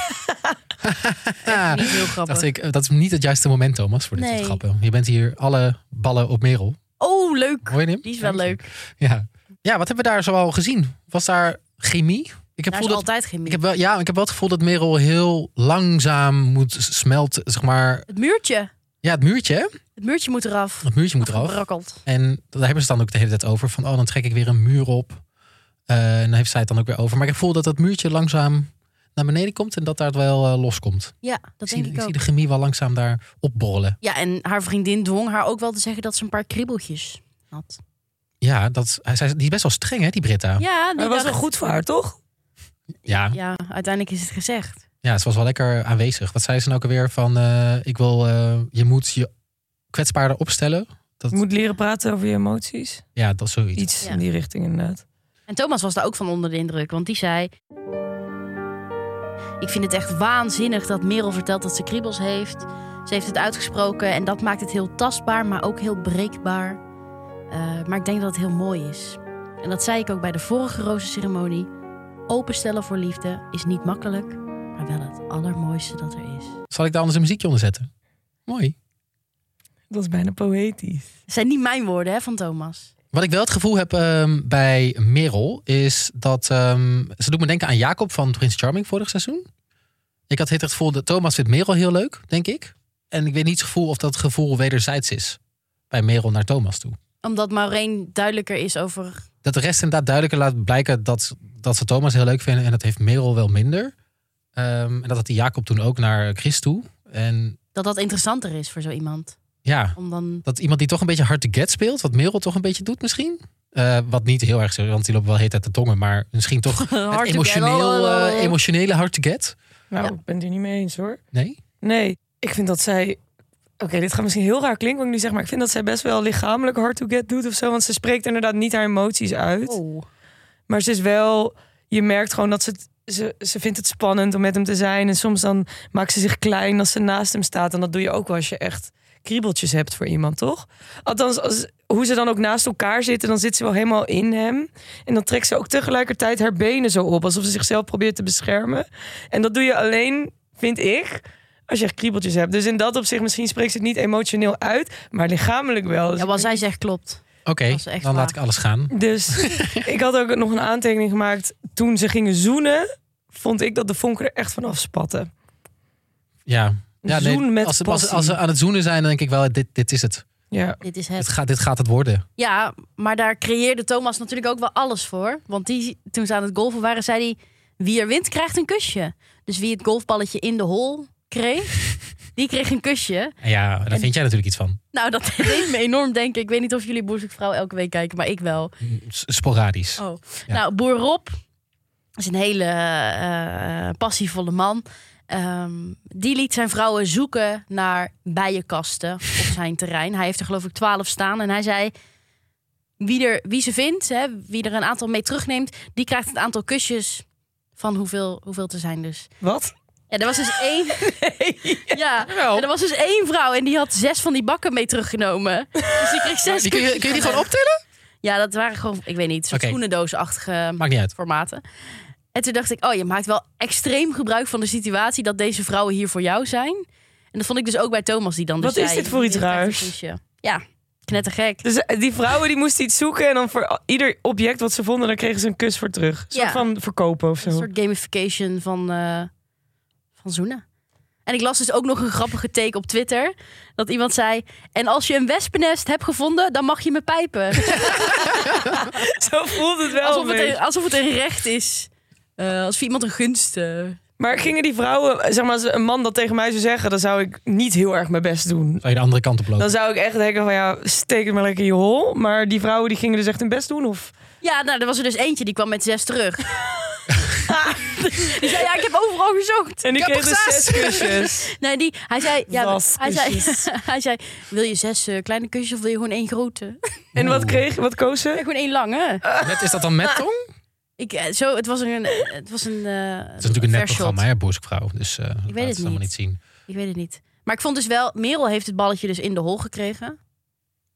ah, Niet heel grappig. dacht ik, eh, dat is niet het juiste moment, Thomas, voor dit Nee. soort grappen. Je bent hier alle ballen op Merel. Oh, leuk. Hoor je hem? Die is wel leuk. Ja. ja, wat hebben we daar zoal gezien? Was daar chemie? Ik heb Daar gevoel is dat... altijd geen Ik muur. heb, wel, ja, ik heb wel het gevoel dat Merel heel langzaam moet smelten. Zeg maar, Het muurtje. ja, het muurtje, hè? Het muurtje moet eraf. Het muurtje moet eraf. Rakkeld. En daar hebben ze het dan ook de hele tijd over. Van, oh, dan trek ik weer een muur op. Eh, en dan heeft zij het dan ook weer over. Maar ik voel dat dat muurtje langzaam naar beneden komt. En dat daar het wel eh, loskomt. Ja, ik, dat zie, denk ik, ik zie ook. de chemie wel langzaam daar opborrelen. Ja, en haar vriendin dwong haar ook wel te zeggen dat ze een paar kriebeltjes had. Ja, dat, hij, zij- die is best wel streng, hè, die Britta. Ja, Ja, Maar die dat was dacht- wel goed voor haar, toch? ja. Ja, uiteindelijk is het gezegd. ze was wel lekker aanwezig. Wat zei ze nou ook alweer? Van, eh, ik wil, eh, je moet je kwetsbaarder opstellen. Dat, Je moet leren praten over je emoties. ja, dat is zoiets. Iets Ja. in die richting inderdaad. En Thomas was daar ook van onder de indruk, want die zei... Ik vind het echt waanzinnig dat Merel vertelt dat ze kriebels heeft. Ze heeft het uitgesproken en dat maakt het heel tastbaar, maar ook heel breekbaar. Eh, maar ik denk dat het heel mooi is. En dat zei ik ook bij de vorige rozenceremonie. Openstellen voor liefde is niet makkelijk, maar wel het allermooiste dat er is. Zal ik daar anders een muziekje onder zetten? Mooi. Dat is bijna poëtisch. Dat zijn niet mijn woorden, hè, van Thomas. Wat ik wel het gevoel heb ehm, bij Merel is dat ehm, ze doet me denken aan Jacob van Prince Charming vorig seizoen. Ik had het gevoel dat Thomas vindt Merel heel leuk, denk ik. En ik weet niet het gevoel of dat gevoel wederzijds is bij Merel naar Thomas toe. Omdat Maureen duidelijker is over... Dat de rest inderdaad duidelijker laat blijken dat, dat ze Thomas heel leuk vinden en dat heeft Merel wel minder. Ehm, en dat had die Jacob toen ook naar Chris toe. En dat dat interessanter is voor zo iemand. ja, Om dan... dat iemand die toch een beetje hard to get speelt, wat Merel toch een beetje doet misschien. Eh, wat niet heel erg zo, want die loopt wel de hele tijd de tongen, maar misschien toch Hard Het to get, oh, emotioneel, lalalala. eh, emotionele hard to get? Nou, Ja. ik ben het er niet mee eens hoor. Nee? Nee, ik vind dat zij... Oké, dit gaat misschien heel raar klinken wat ik nu zeg... maar ik vind dat zij best wel lichamelijk hard to get doet of zo. Want ze spreekt inderdaad niet haar emoties uit. Oh. Maar ze is wel... Je merkt gewoon dat ze... het- Ze, ze vindt het spannend om met hem te zijn. En soms dan maakt ze zich klein als ze naast hem staat. En dat doe je ook wel als je echt kriebeltjes hebt voor iemand, toch? Althans, als, hoe ze dan ook naast elkaar zitten... dan zit ze wel helemaal in hem. En dan trekt ze ook tegelijkertijd haar benen zo op... alsof ze zichzelf probeert te beschermen. En dat doe je alleen vind ik, als je echt kriebeltjes hebt. Dus in dat opzicht, misschien spreekt ze het niet emotioneel uit, maar lichamelijk wel. Dus Ja, wat zij zegt klopt. Oké, Dat is echt dan laat waar. ik alles gaan. Dus ik had ook nog een aantekening gemaakt. Toen ze gingen zoenen, vond ik dat de vonken er echt vanaf spatten. Ja. ja nee, Zoen met als, ze- als, ze- passie. als ze aan het zoenen zijn, dan denk ik wel, dit, dit is het. Ja. Dit is het het. gaat, dit gaat het worden. Ja, maar daar creëerde Thomas natuurlijk ook wel alles voor. Want die, toen ze aan het golfen waren, zei hij... Wie er wint, krijgt een kusje. Dus wie het golfballetje in de hol kreeg, die kreeg een kusje. En ja, daar vind jij natuurlijk iets van. Nou, dat deed me enorm denken. Ik weet niet of jullie Boerzoekvrouw elke week kijken, maar ik wel. S- Sporadisch. Oh. Ja. Nou, boer Rob is een hele eh, eh, passievolle man. Ehm, die liet zijn vrouwen zoeken naar bijenkasten op zijn terrein. Hij heeft er geloof ik twaalf staan. En hij zei, wie, er, wie ze vindt, hè, wie er een aantal mee terugneemt... die krijgt het aantal kusjes van hoeveel, hoeveel te zijn dus. Wat? En er was dus één... Ja, Oh. en er was dus één vrouw en die had zes van die bakken mee teruggenomen. Dus die kreeg zes Die kun, je, kusjes kun je die van gewoon hem. optillen? Ja, dat waren gewoon, ik weet niet, soort Oké. schoenendoosachtige Maakt niet uit. formaten. En toen dacht ik, oh, je maakt wel extreem gebruik van de situatie dat deze vrouwen hier voor jou zijn. En dat vond ik dus ook bij Thomas die dan dus Wat is zei, dit voor iets je krijgt een raars? kusje. Ja, knettergek. Dus eh, die vrouwen die moesten iets zoeken en dan voor ieder object wat ze vonden, daar kregen ze een kus voor terug. Een soort Ja. van verkopen of zo. Een soort gamification van, eh, van zoenen. En ik las dus ook nog een grappige take op Twitter. Dat iemand zei, en als je een wespennest hebt gevonden, dan mag je me pijpen. Oh, Zo voelt het wel. Alsof een het beetje. een, alsof het een recht is. Eh alsof je iemand een gunst... eh, Maar gingen die vrouwen, zeg maar, als een man dat tegen mij zou zeggen, dan zou ik niet heel erg mijn best doen. Zou je de andere kant op lopen? Dan zou ik echt denken van ja, steek het maar lekker in je hol. Maar die vrouwen die gingen dus echt hun best doen of... Ja, nou, er was er dus eentje die kwam met zes terug. die zei, ja, ik heb overal gezocht. En die Ik heb kregen er dus zes kusjes. Nee, die, hij zei, ja, Was hij zei, kusjes. hij zei, wil je zes eh, kleine kusjes of wil je gewoon één grote? En wat Oeh. kreeg, wat koos Ja, ze? gewoon één lange. Met- is dat dan met tong? Ik, eh, zo, het was een, het was een, eh, Het is natuurlijk een net vershot. programma, hè, Boerzoekvrouw. Dus eh ik het het allemaal niet. niet zien. Ik weet het niet. Maar ik vond dus wel, Merel heeft het balletje dus in de hol gekregen.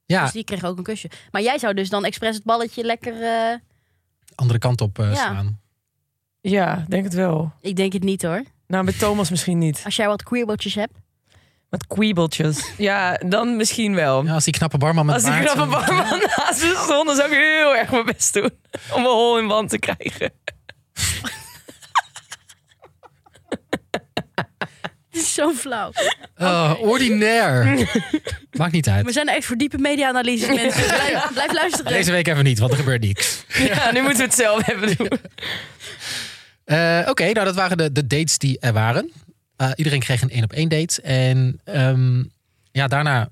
Ja, Dus die kreeg ook een kusje. Maar jij zou dus dan expres het balletje lekker... eh, andere kant op eh Ja. slaan. Ja, denk het wel. ik denk het niet hoor. Nou, met Thomas misschien niet. Als jij wat queerbotjes hebt. Met kwiebeltjes. Ja, dan misschien wel. Ja, als die knappe barman met Als ik baard er een zo'n- barman naast me stond, dan zou ik heel erg mijn best doen. Om een hol in wand te krijgen. Het is zo flauw. Oh, ordinair. Maakt niet We uit. zijn er echt voor diepe media-analyse, mensen. Blijf, blijf luisteren. Deze week even niet, want er gebeurt niks. Ja, nu moeten we het zelf hebben doen. Eh, Oké, nou dat waren de, de dates die er waren. Eh, iedereen kreeg een één op één date. En ehm, ja, daarna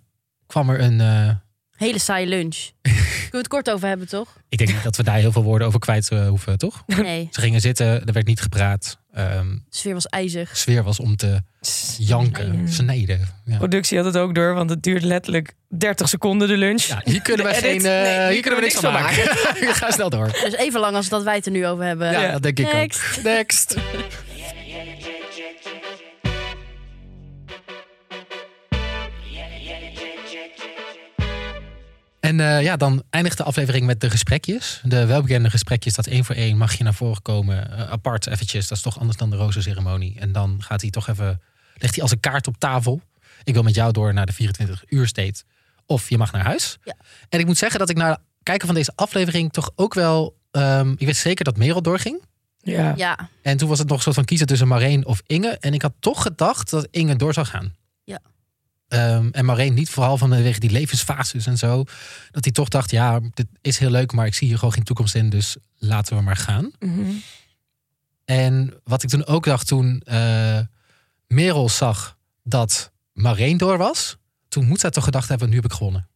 kwam er een. eh, Hele saaie lunch. Kunnen we het kort over hebben, toch? ik denk niet dat we daar heel veel woorden over kwijt eh, hoeven, toch? Nee, Ze gingen zitten, er werd niet gepraat. Ehm, de sfeer was ijzig. de sfeer was om te janken, Snijden. snijden. Ja. Productie had het ook door, want het duurt letterlijk 30 seconden de lunch. Ja, hier kunnen we, De edit? geen, eh, Nee, hier kunnen we niks van maken. Ga snel door. Dus even lang als dat wij het er nu over hebben. Ja, Ja. dat denk ik Next. ook. Next. En eh, ja, dan eindigt de aflevering met de gesprekjes. De welbekende gesprekjes, dat één voor één mag je naar voren komen. eh, apart eventjes, dat is toch anders dan de rozenceremonie. En dan gaat hij toch even, legt hij als een kaart op tafel. Ik wil met jou door naar de 24 uur date. Of je mag naar huis. Ja. En ik moet zeggen dat ik na het kijken van deze aflevering toch ook wel... ehm, ik wist zeker dat Merel doorging. Ja. Ja, En toen was het nog een soort van kiezen tussen Marijn of Inge. En ik had toch gedacht dat Inge door zou gaan. Ja. Ehm, en Marijn niet, vooral vanwege die levensfases en zo. Dat hij toch dacht, ja, dit is heel leuk, maar ik zie hier gewoon geen toekomst in. Dus laten we maar gaan. Mhm. En wat ik toen ook dacht toen eh, Merel zag dat Marijn door was. Toen moet zij toch gedacht hebben, nu heb ik gewonnen.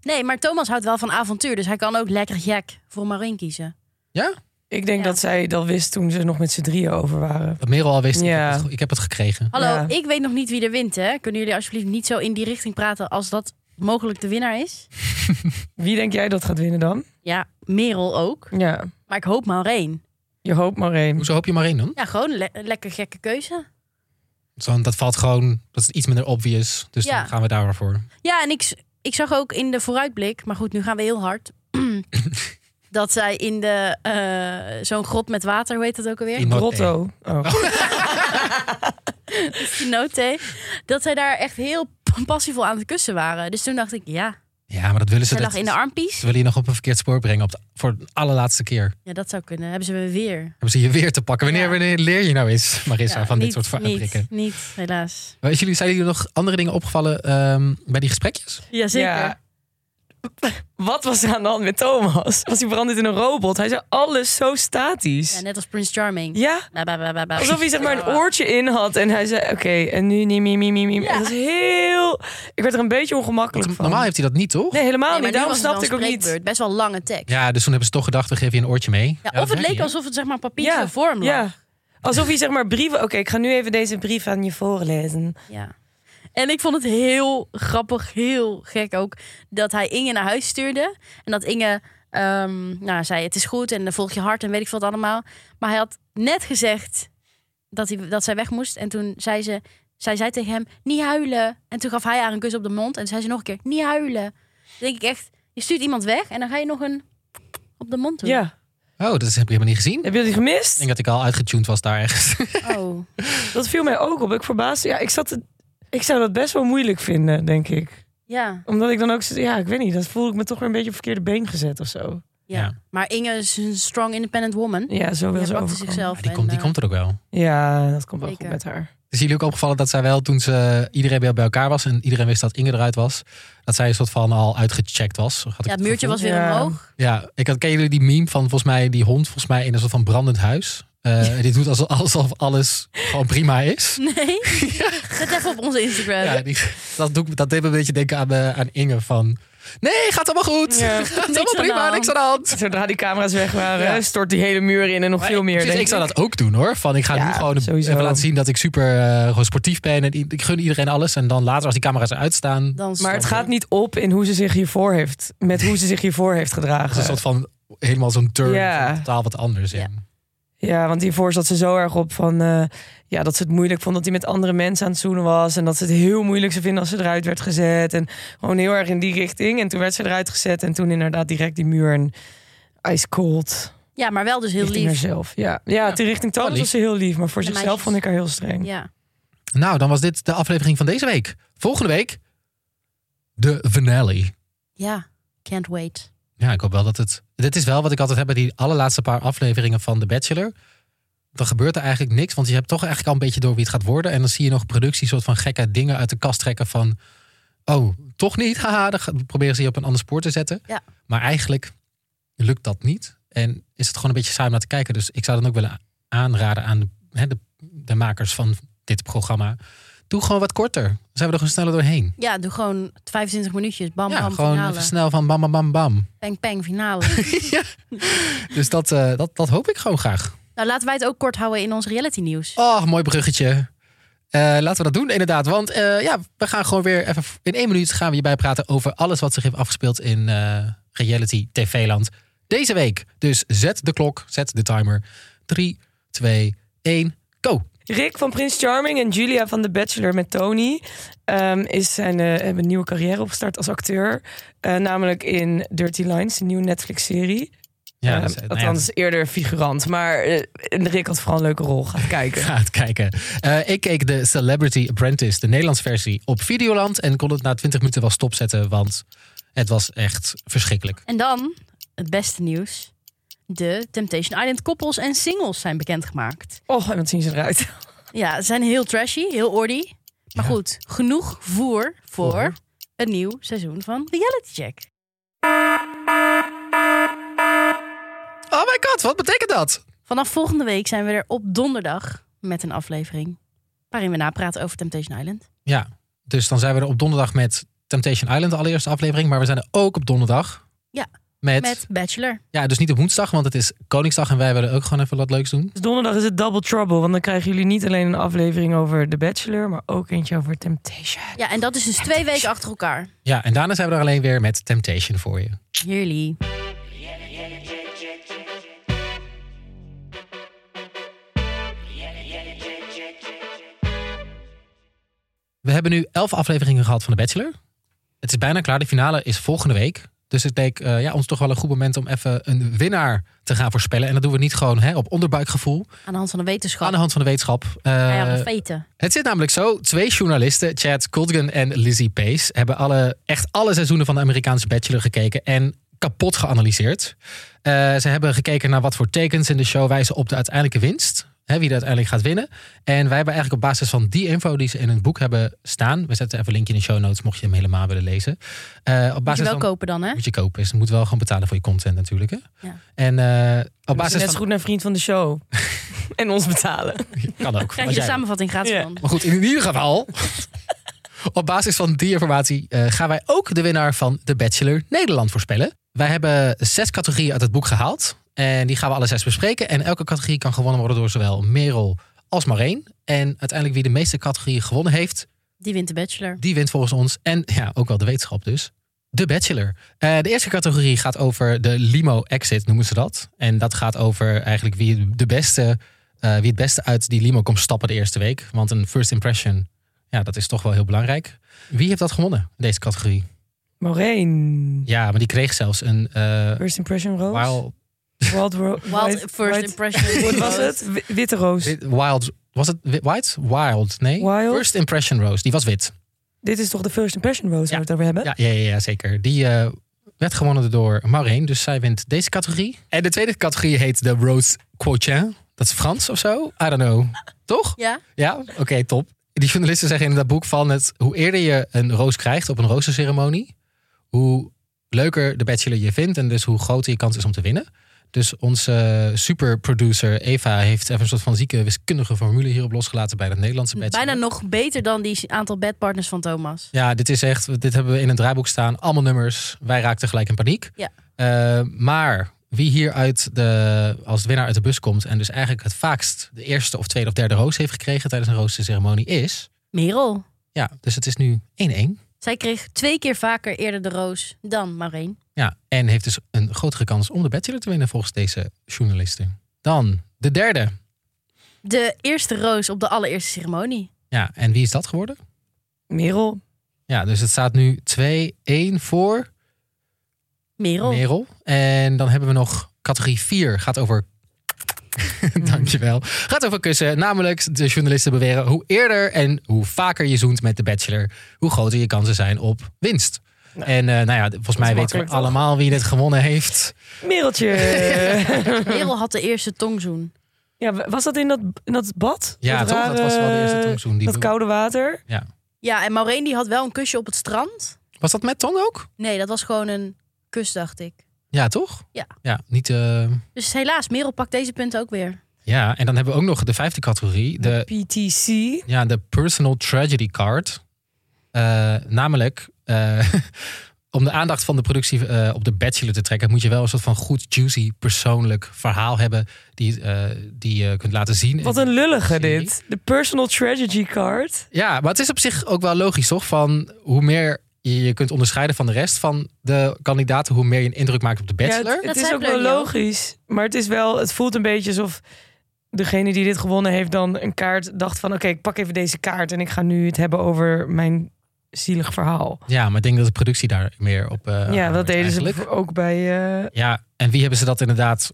nee, maar Thomas houdt wel van avontuur. Dus hij kan ook lekker Jack voor Marin kiezen. Ik denk Ja. dat zij dat wist toen ze nog met z'n drieën over waren. Dat Merel al wist, ik, Ja. heb het, ik heb het gekregen. Hallo, Ja. ik weet nog niet wie er wint, hè? Kunnen jullie alsjeblieft niet zo in die richting praten als dat mogelijk de winnaar is? Wie denk jij dat gaat winnen dan? Ja, Merel ook. Ja, Maar ik hoop Maureen. je hoopt maar één. Hoezo hoop je Marijn dan? Ja, gewoon le- een lekker gekke keuze. Zo, dat valt gewoon, dat is iets minder obvious. Dus Ja. dan gaan we daar maar voor. Ja, en ik, s- ik zag ook in de vooruitblik, maar goed, nu gaan we heel hard. dat zij in de eh, zo'n grot met water, hoe heet dat ook alweer? In Noord- Grotto. Oh. note, dat zij daar echt heel passievol aan het kussen waren. Dus toen dacht ik, ja, Ja, maar dat willen ze. zij Dat, lag in de armpies. Ze willen je nog op een verkeerd spoor brengen. Op de, voor de allerlaatste keer. Ja, dat zou kunnen. Hebben ze me weer. Hebben ze je weer te pakken. Wanneer, Ja. wanneer leer je nou eens, Marissa, Ja, van niet- dit soort fabrieken? niet, niet, helaas. Maar Is jullie, zijn jullie nog andere dingen opgevallen ehm, bij die gesprekjes? Jazeker. Ja. Wat was er aan de hand met Thomas? Was hij veranderd in een robot? Hij zei alles zo statisch. Ja, net als Prince Charming. Ja, Ba, ba, ba, ba, ba. alsof hij zeg maar een oortje in had. En hij zei, oké, en nu niet, mie, mie, mie, mie. Ja. Dat is heel... Ik werd er een beetje ongemakkelijk van. Normaal heeft hij dat niet, toch? Nee, helemaal Nee, maar niet. nu Daarom was het wel snapte ik ook een niet. spreekbeurt. Best wel lange tekst. Ja, dus toen hebben ze toch gedacht, we geven je een oortje mee. Ja, dat of het zei leek hij, hè? alsof het zeg maar papieren vorm lag. ja. Alsof hij zeg maar brieven... Oké, ik ga nu even deze brief aan je voorlezen. Ja. En ik vond het heel grappig, heel gek ook, dat hij Inge naar huis stuurde. En dat Inge ehm, nou, zei, het is goed en dan volg je hart en weet ik veel wat allemaal. Maar hij had net gezegd dat, hij, dat zij weg moest. En toen zei ze, zij zei tegen hem, niet huilen. En toen gaf hij haar een kus op de mond. En toen zei ze nog een keer, niet huilen. Dan denk ik echt, je stuurt iemand weg en dan ga je nog een op de mond doen. Ja. Oh, dat heb ik helemaal niet gezien. Ik Heb je dat gemist? denk dat ik al uitgetuned was daar ergens. Oh. Dat viel mij ook op. Ik verbaasde... Ja, ik zat... te- Ik zou dat best wel moeilijk vinden, denk ik. Ja, Omdat ik dan ook... zit- Ja, ik weet niet. Dat voel ik me toch weer een beetje op verkeerde been gezet of zo. ja. Ja. Maar Inge is een strong, independent woman. Ja, zo wil Die ze pakte overkomen. zichzelf. Maar die, en, komt, die eh, komt er ook wel. Ja, dat komt wel Zeker. goed met haar. Is jullie ook opgevallen dat zij wel, toen ze eh, iedereen weer bij elkaar was... en iedereen wist dat Inge eruit was... dat zij een soort van al uitgecheckt was. Had ik Ja, het muurtje gevoel. was weer Ja. omhoog. Ja, ik had, ken jullie die meme van volgens mij die hond volgens mij in een soort van brandend huis? Eh, Die doet alsof, alsof alles gewoon prima is. Nee? Zet even op onze Instagram. Ja, die, dat, doe, ik- dat deed me een beetje denken aan, eh, aan Inge van... Nee, gaat allemaal goed. Gaat Ja. Niks allemaal aan de prima, hand. niks aan de hand. Zodra die camera's weg waren, Ja. stort die hele muur in en nog Maar veel ik- meer. precies, denk ik zou ik. dat ook doen hoor. Van ik ga Ja, nu gewoon sowieso. even laten zien dat ik super eh, gewoon sportief ben. En i- ik gun iedereen alles. En dan later als die camera's eruit staan. Dat Dan Maar het stoppen. gaat niet op in hoe ze zich hiervoor heeft, met hoe ze zich hiervoor heeft is een gedragen. soort van helemaal zo'n turn. Ja. van Totaal wat anders. Ja. in. Ja, want hiervoor zat ze zo erg op van, eh, ja, dat ze het moeilijk vond dat hij met andere mensen aan het zoenen was. En dat ze het heel moeilijk zou vinden als ze eruit werd gezet. En gewoon heel erg in die richting. En toen werd ze eruit gezet en toen inderdaad direct die muur en ice cold. Ja, maar wel dus heel richting lief. haarzelf. Ja, ja, Ja, te- richting wel Thomas lief. was ze heel lief, maar voor De zichzelf meisjes. vond ik haar heel streng. Ja. Nou, dan was dit de aflevering van deze week. Volgende week de finale. ja, can't wait. Ja, ik hoop wel dat het... Dit is wel wat ik altijd heb bij die allerlaatste paar afleveringen van The Bachelor. Dan gebeurt er eigenlijk niks. Want je hebt toch eigenlijk al een beetje door wie het gaat worden. En dan zie je nog productie soort van gekke dingen uit de kast trekken van... Oh, toch niet? Haha, dan gaan- proberen ze je op een ander spoor te zetten. Ja. Maar eigenlijk lukt dat niet. En is het gewoon een beetje saai om naar te kijken. Dus ik zou dan ook willen aanraden aan de, hè, de, de makers van dit programma. Doe gewoon wat korter. Dan zijn we er gewoon sneller doorheen. Ja, doe gewoon 25 minuutjes. Bam, ja, bam, gewoon finale. even snel van bam, bam, bam, bam. Peng, peng, finale. Dus dat, eh, dat, dat hoop ik gewoon graag. nou, laten wij het ook kort houden in ons reality nieuws. Oh, mooi bruggetje. Eh, laten we dat doen, inderdaad. Want eh, ja, we gaan gewoon weer even... In één minuut gaan we je bijpraten over alles wat zich heeft afgespeeld in eh, reality TV-land. Deze week. Dus zet de klok, zet de timer. 3, 2, 1, go. Rick van Prince Charming en Julia van The Bachelor met Tony ehm, is zijn, eh, hebben een nieuwe carrière opgestart als acteur. Eh, namelijk in Dirty Lines, een nieuwe Netflix-serie. Ja, Ehm, dus, eh, nou ja, althans, eerder figurant. Maar eh, Rick had vooral een leuke rol. Gaat kijken. Ga het kijken. Eh, ik keek de Celebrity Apprentice, de Nederlands versie, op Videoland. En kon het na 20 minuten wel stopzetten, want het was echt verschrikkelijk. En dan, het beste nieuws. De Temptation Island koppels en singles zijn bekendgemaakt. Oh, en wat zien ze eruit. Ja, ze zijn heel trashy, heel ordy. Maar Ja. goed, genoeg voer voor Voor. een nieuw seizoen van Reality Check. Oh my god, wat betekent dat? Vanaf volgende week zijn we er op donderdag met een aflevering. Waarin we napraten over Temptation Island. Ja, dus dan zijn we er op donderdag met Temptation Island, de allereerste aflevering. Maar we zijn er ook op donderdag. Ja, Met, Met Bachelor. Ja, dus niet op woensdag, want het is Koningsdag. En wij willen ook gewoon even wat leuks doen. Dus donderdag is het Double Trouble. Want dan krijgen jullie niet alleen een aflevering over The Bachelor... maar ook eentje over Temptation. Ja, en dat is dus twee weken achter elkaar. Ja, en daarna zijn we er alleen weer met Temptation voor je. Heerlijk. We hebben nu elf afleveringen gehad van The Bachelor. Het is bijna klaar. De finale is volgende week. Dus het leek eh, ja, ons toch wel een goed moment om even een winnaar te gaan voorspellen. En dat doen we niet gewoon hè, op onderbuikgevoel. Aan de hand van de Aan wetenschap. de hand van de wetenschap. Eh, Ja, ja, de feiten. het zit namelijk zo. Twee journalisten, Chad Colgan en Lizzie Pace, hebben alle, echt alle seizoenen van de Amerikaanse Bachelor gekeken en kapot geanalyseerd. Eh, ze hebben gekeken naar wat voor tekens in de show wijzen op de uiteindelijke winst. Hè, wie er uiteindelijk gaat winnen. En wij hebben eigenlijk op basis van die info die ze in hun boek hebben staan. We zetten even een linkje in de show notes mocht je hem helemaal willen lezen. Eh, op Moet je basis wel van, kopen dan, hè? moet je kopen. Dus je moet wel gewoon betalen voor je content natuurlijk. Hè? Ja. En eh, op Basis basis net van... zo goed naar vriend van de show. en ons betalen. Kan ook. wat Krijg je de jij wil. samenvatting gratis Ja. van. Maar goed, in ieder geval. op basis van die informatie eh, gaan wij ook de winnaar van The Bachelor Nederland voorspellen. Wij hebben zes categorieën uit het boek gehaald. En die gaan we alle zes bespreken. En elke categorie kan gewonnen worden door zowel Merel als Marijn. En uiteindelijk wie de meeste categorieën gewonnen heeft, Die wint de bachelor. die wint volgens ons. En ja, ook wel de wetenschap dus. De Bachelor. Eh, de eerste categorie gaat over de limo exit, noemen ze dat. En dat gaat over eigenlijk wie, de beste, eh, wie het beste uit die limo komt stappen de eerste week. Want een first impression, ja, dat is toch wel heel belangrijk. Wie heeft dat gewonnen, in deze categorie? Maureen. Ja, maar die kreeg zelfs een... eh First impression roos. wild, Wild, ro- Wild white- first white- impression. Wat was het? Wi- Witte roos. wit- wild... Was het wi- white? Wild, nee. Wild? First impression roos, die was wit. Dit is toch de first impression Ja. roos waar we het over hebben? Ja, ja, ja, ja, zeker. Die eh, werd gewonnen door Maureen. Dus zij wint deze categorie. En de tweede categorie heet de Rose Quotient. Dat is Frans of zo? I don't know. Toch? Ja? Ja? Oké, top. Die journalisten zeggen in dat boek van het, hoe eerder je een roos krijgt op een roosterceremonie, hoe leuker de bachelor je vindt en dus hoe groter je kans is om te winnen. Dus onze superproducer Eva heeft even een soort van zieke wiskundige formule hierop losgelaten bij het Nederlandse bachelor. Bijna nog beter dan die aantal bedpartners van Thomas. Ja, dit is echt. Dit hebben we in het draaiboek staan. Allemaal nummers. Wij raakten gelijk in paniek. Ja. Eh, maar wie hier uit de, als winnaar uit de bus komt en dus eigenlijk het vaakst de eerste of tweede of derde roos heeft gekregen tijdens een roosterceremonie is. Merel. Ja, dus het is nu 1-1. Zij kreeg twee keer vaker eerder de roos dan Maureen. Ja, en heeft dus een grotere kans om de bachelor te winnen volgens deze journalisten. Dan de derde. De eerste roos op de allereerste ceremonie. Ja, en wie is dat geworden? Merel. Ja, dus het staat nu 2-1 voor Merel. Merel. En dan hebben we nog categorie 4. Gaat over. Dankjewel. Gaat over kussen. Namelijk, de journalisten beweren hoe eerder en hoe vaker je zoent met de bachelor, hoe groter je kansen zijn op winst. En eh, nou ja, volgens mij weten we makkelijk, toch? allemaal wie dit gewonnen heeft. Mereltje. Merel had de eerste tongzoen. ja, wa- was dat in dat, in dat bad? Ja, dat toch? Dat was wel de eerste rare- tongzoen. Die Dat koude water. Ja, en Maureen die had wel een kusje op het strand. Was dat met Ton ook? Nee, dat was gewoon een kus, dacht ik. Ja, toch? Ja. Ja, niet. eh, Dus helaas, Merel pakt deze punten ook weer. Ja, en dan hebben we ook nog de vijfde categorie. De PTC. Ja, de personal tragedy card. Eh, namelijk, eh, om de aandacht van de productie eh, op de bachelor te trekken, moet je wel een soort van goed, juicy, persoonlijk verhaal hebben die, eh, die je kunt laten zien. Wat En- een lullige Serie. dit. De personal tragedy card. Ja, maar het is op zich ook wel logisch, toch? Van hoe meer je je kunt onderscheiden van de rest van de kandidaten, hoe meer je een indruk maakt op de Ja, bachelor. het, het Dat is zei ook wel Pleunio. logisch. Maar het is wel, het voelt een beetje alsof degene die dit gewonnen heeft dan een kaart dacht van oké, ik pak even deze kaart en ik ga nu het hebben over mijn zielig verhaal. Ja, maar ik denk dat de productie daar meer op. eh, ja, dat hamert deden eigenlijk. ze ook bij eh, Ja, en wie hebben ze dat inderdaad?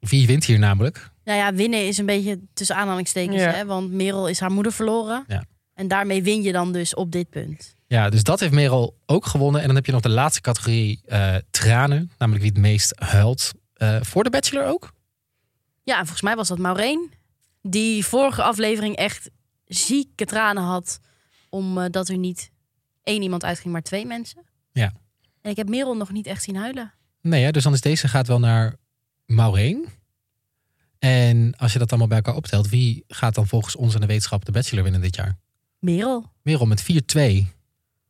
Wie wint hier namelijk? Nou ja, winnen is een beetje tussen aanhalingstekens. Ja. Hè? Want Merel is haar moeder verloren. Ja. En daarmee win je dan dus op dit punt. Ja, dus dat heeft Merel ook gewonnen. En dan heb je nog de laatste categorie eh, tranen. Namelijk wie het meest huilt. Eh, voor de Bachelor ook? Ja, en volgens mij was dat Maureen. Die vorige aflevering echt zieke tranen had. Omdat er niet één iemand uitging, maar twee mensen. Ja. En ik heb Merel nog niet echt zien huilen. Nee, hè? dus dan is deze gaat wel naar Maureen. En als je dat allemaal bij elkaar optelt, wie gaat dan volgens ons in de wetenschap de Bachelor winnen dit jaar? Merel. Merel met 4-2,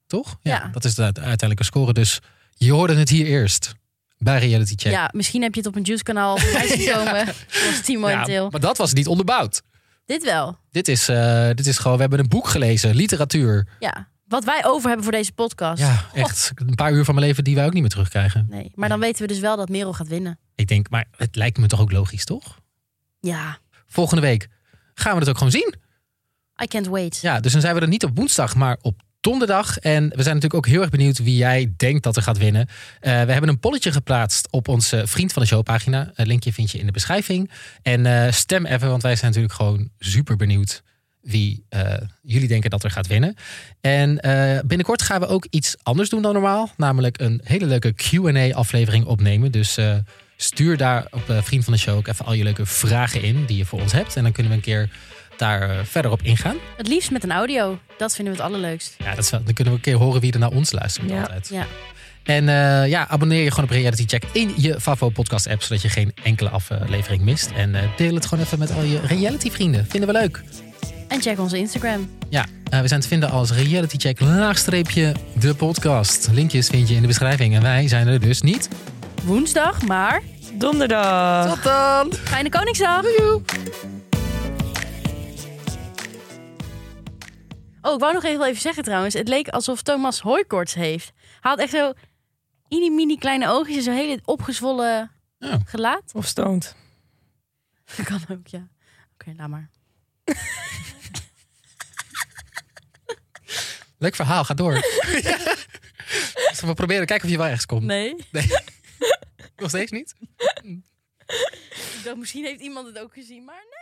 toch? Ja. Dat is de uite- uiteindelijke score. Dus je hoorde het hier eerst bij Reality Check. Ja, misschien heb je het op een Juice-kanaal voorbij zien komen. Zoals Timo en Ja, Til. maar dat was niet onderbouwd. Dit wel. Dit is, eh, dit is gewoon, we hebben een boek gelezen, literatuur. Ja. Wat wij over hebben voor deze podcast. Ja, echt een paar uur van mijn leven die wij ook niet meer terugkrijgen. Nee. Maar dan weten we dus wel dat Merel gaat winnen. Ik denk, maar het lijkt me toch ook logisch, toch? Ja. Volgende week gaan we het ook gewoon zien. I can't wait. Ja, dus dan zijn we er niet op woensdag, maar op donderdag. En we zijn natuurlijk ook heel erg benieuwd wie jij denkt dat er gaat winnen. Eh, we hebben een polletje geplaatst op onze Vriend van de Show pagina. Het linkje vind je in de beschrijving. En eh, stem even, want wij zijn natuurlijk gewoon super benieuwd wie eh, jullie denken dat er gaat winnen. En eh, binnenkort gaan we ook iets anders doen dan normaal. Namelijk een hele leuke Q&A-aflevering opnemen. Dus eh, stuur daar op eh, Vriend van de Show ook even al je leuke vragen in... die je voor ons hebt. En dan kunnen we een keer daar eh, verder op ingaan. Het liefst met een audio. Dat vinden we het allerleukst. Ja, dat is wel- dan kunnen we een keer horen wie er naar ons luistert Ja. altijd. Ja. En eh, ja, abonneer je gewoon op Reality Check in je Favo podcast app, zodat je geen enkele aflevering mist. En eh, deel het gewoon even met al je reality vrienden. Vinden we leuk. En check onze Instagram. Ja, eh, we zijn te vinden als Reality Check laagstreepje de podcast. Linkjes vind je in de beschrijving. En wij zijn er dus niet. Woensdag, maar... Donderdag. Tot dan! Fijne Koningsdag! Oh, ik wou nog even, even zeggen trouwens. Het leek alsof Thomas hooikoorts heeft. Hij had echt zo... mini mini kleine oogjes en zo'n hele opgezwollen Ja. gelaat. Of stoned. Dat kan ook, ja. Oké, laat maar. Leuk verhaal, ga door. Ja. Dus we proberen kijken of je wel ergens komt. Nee. Nog steeds niet? Ik dacht, misschien heeft iemand het ook gezien, maar nee.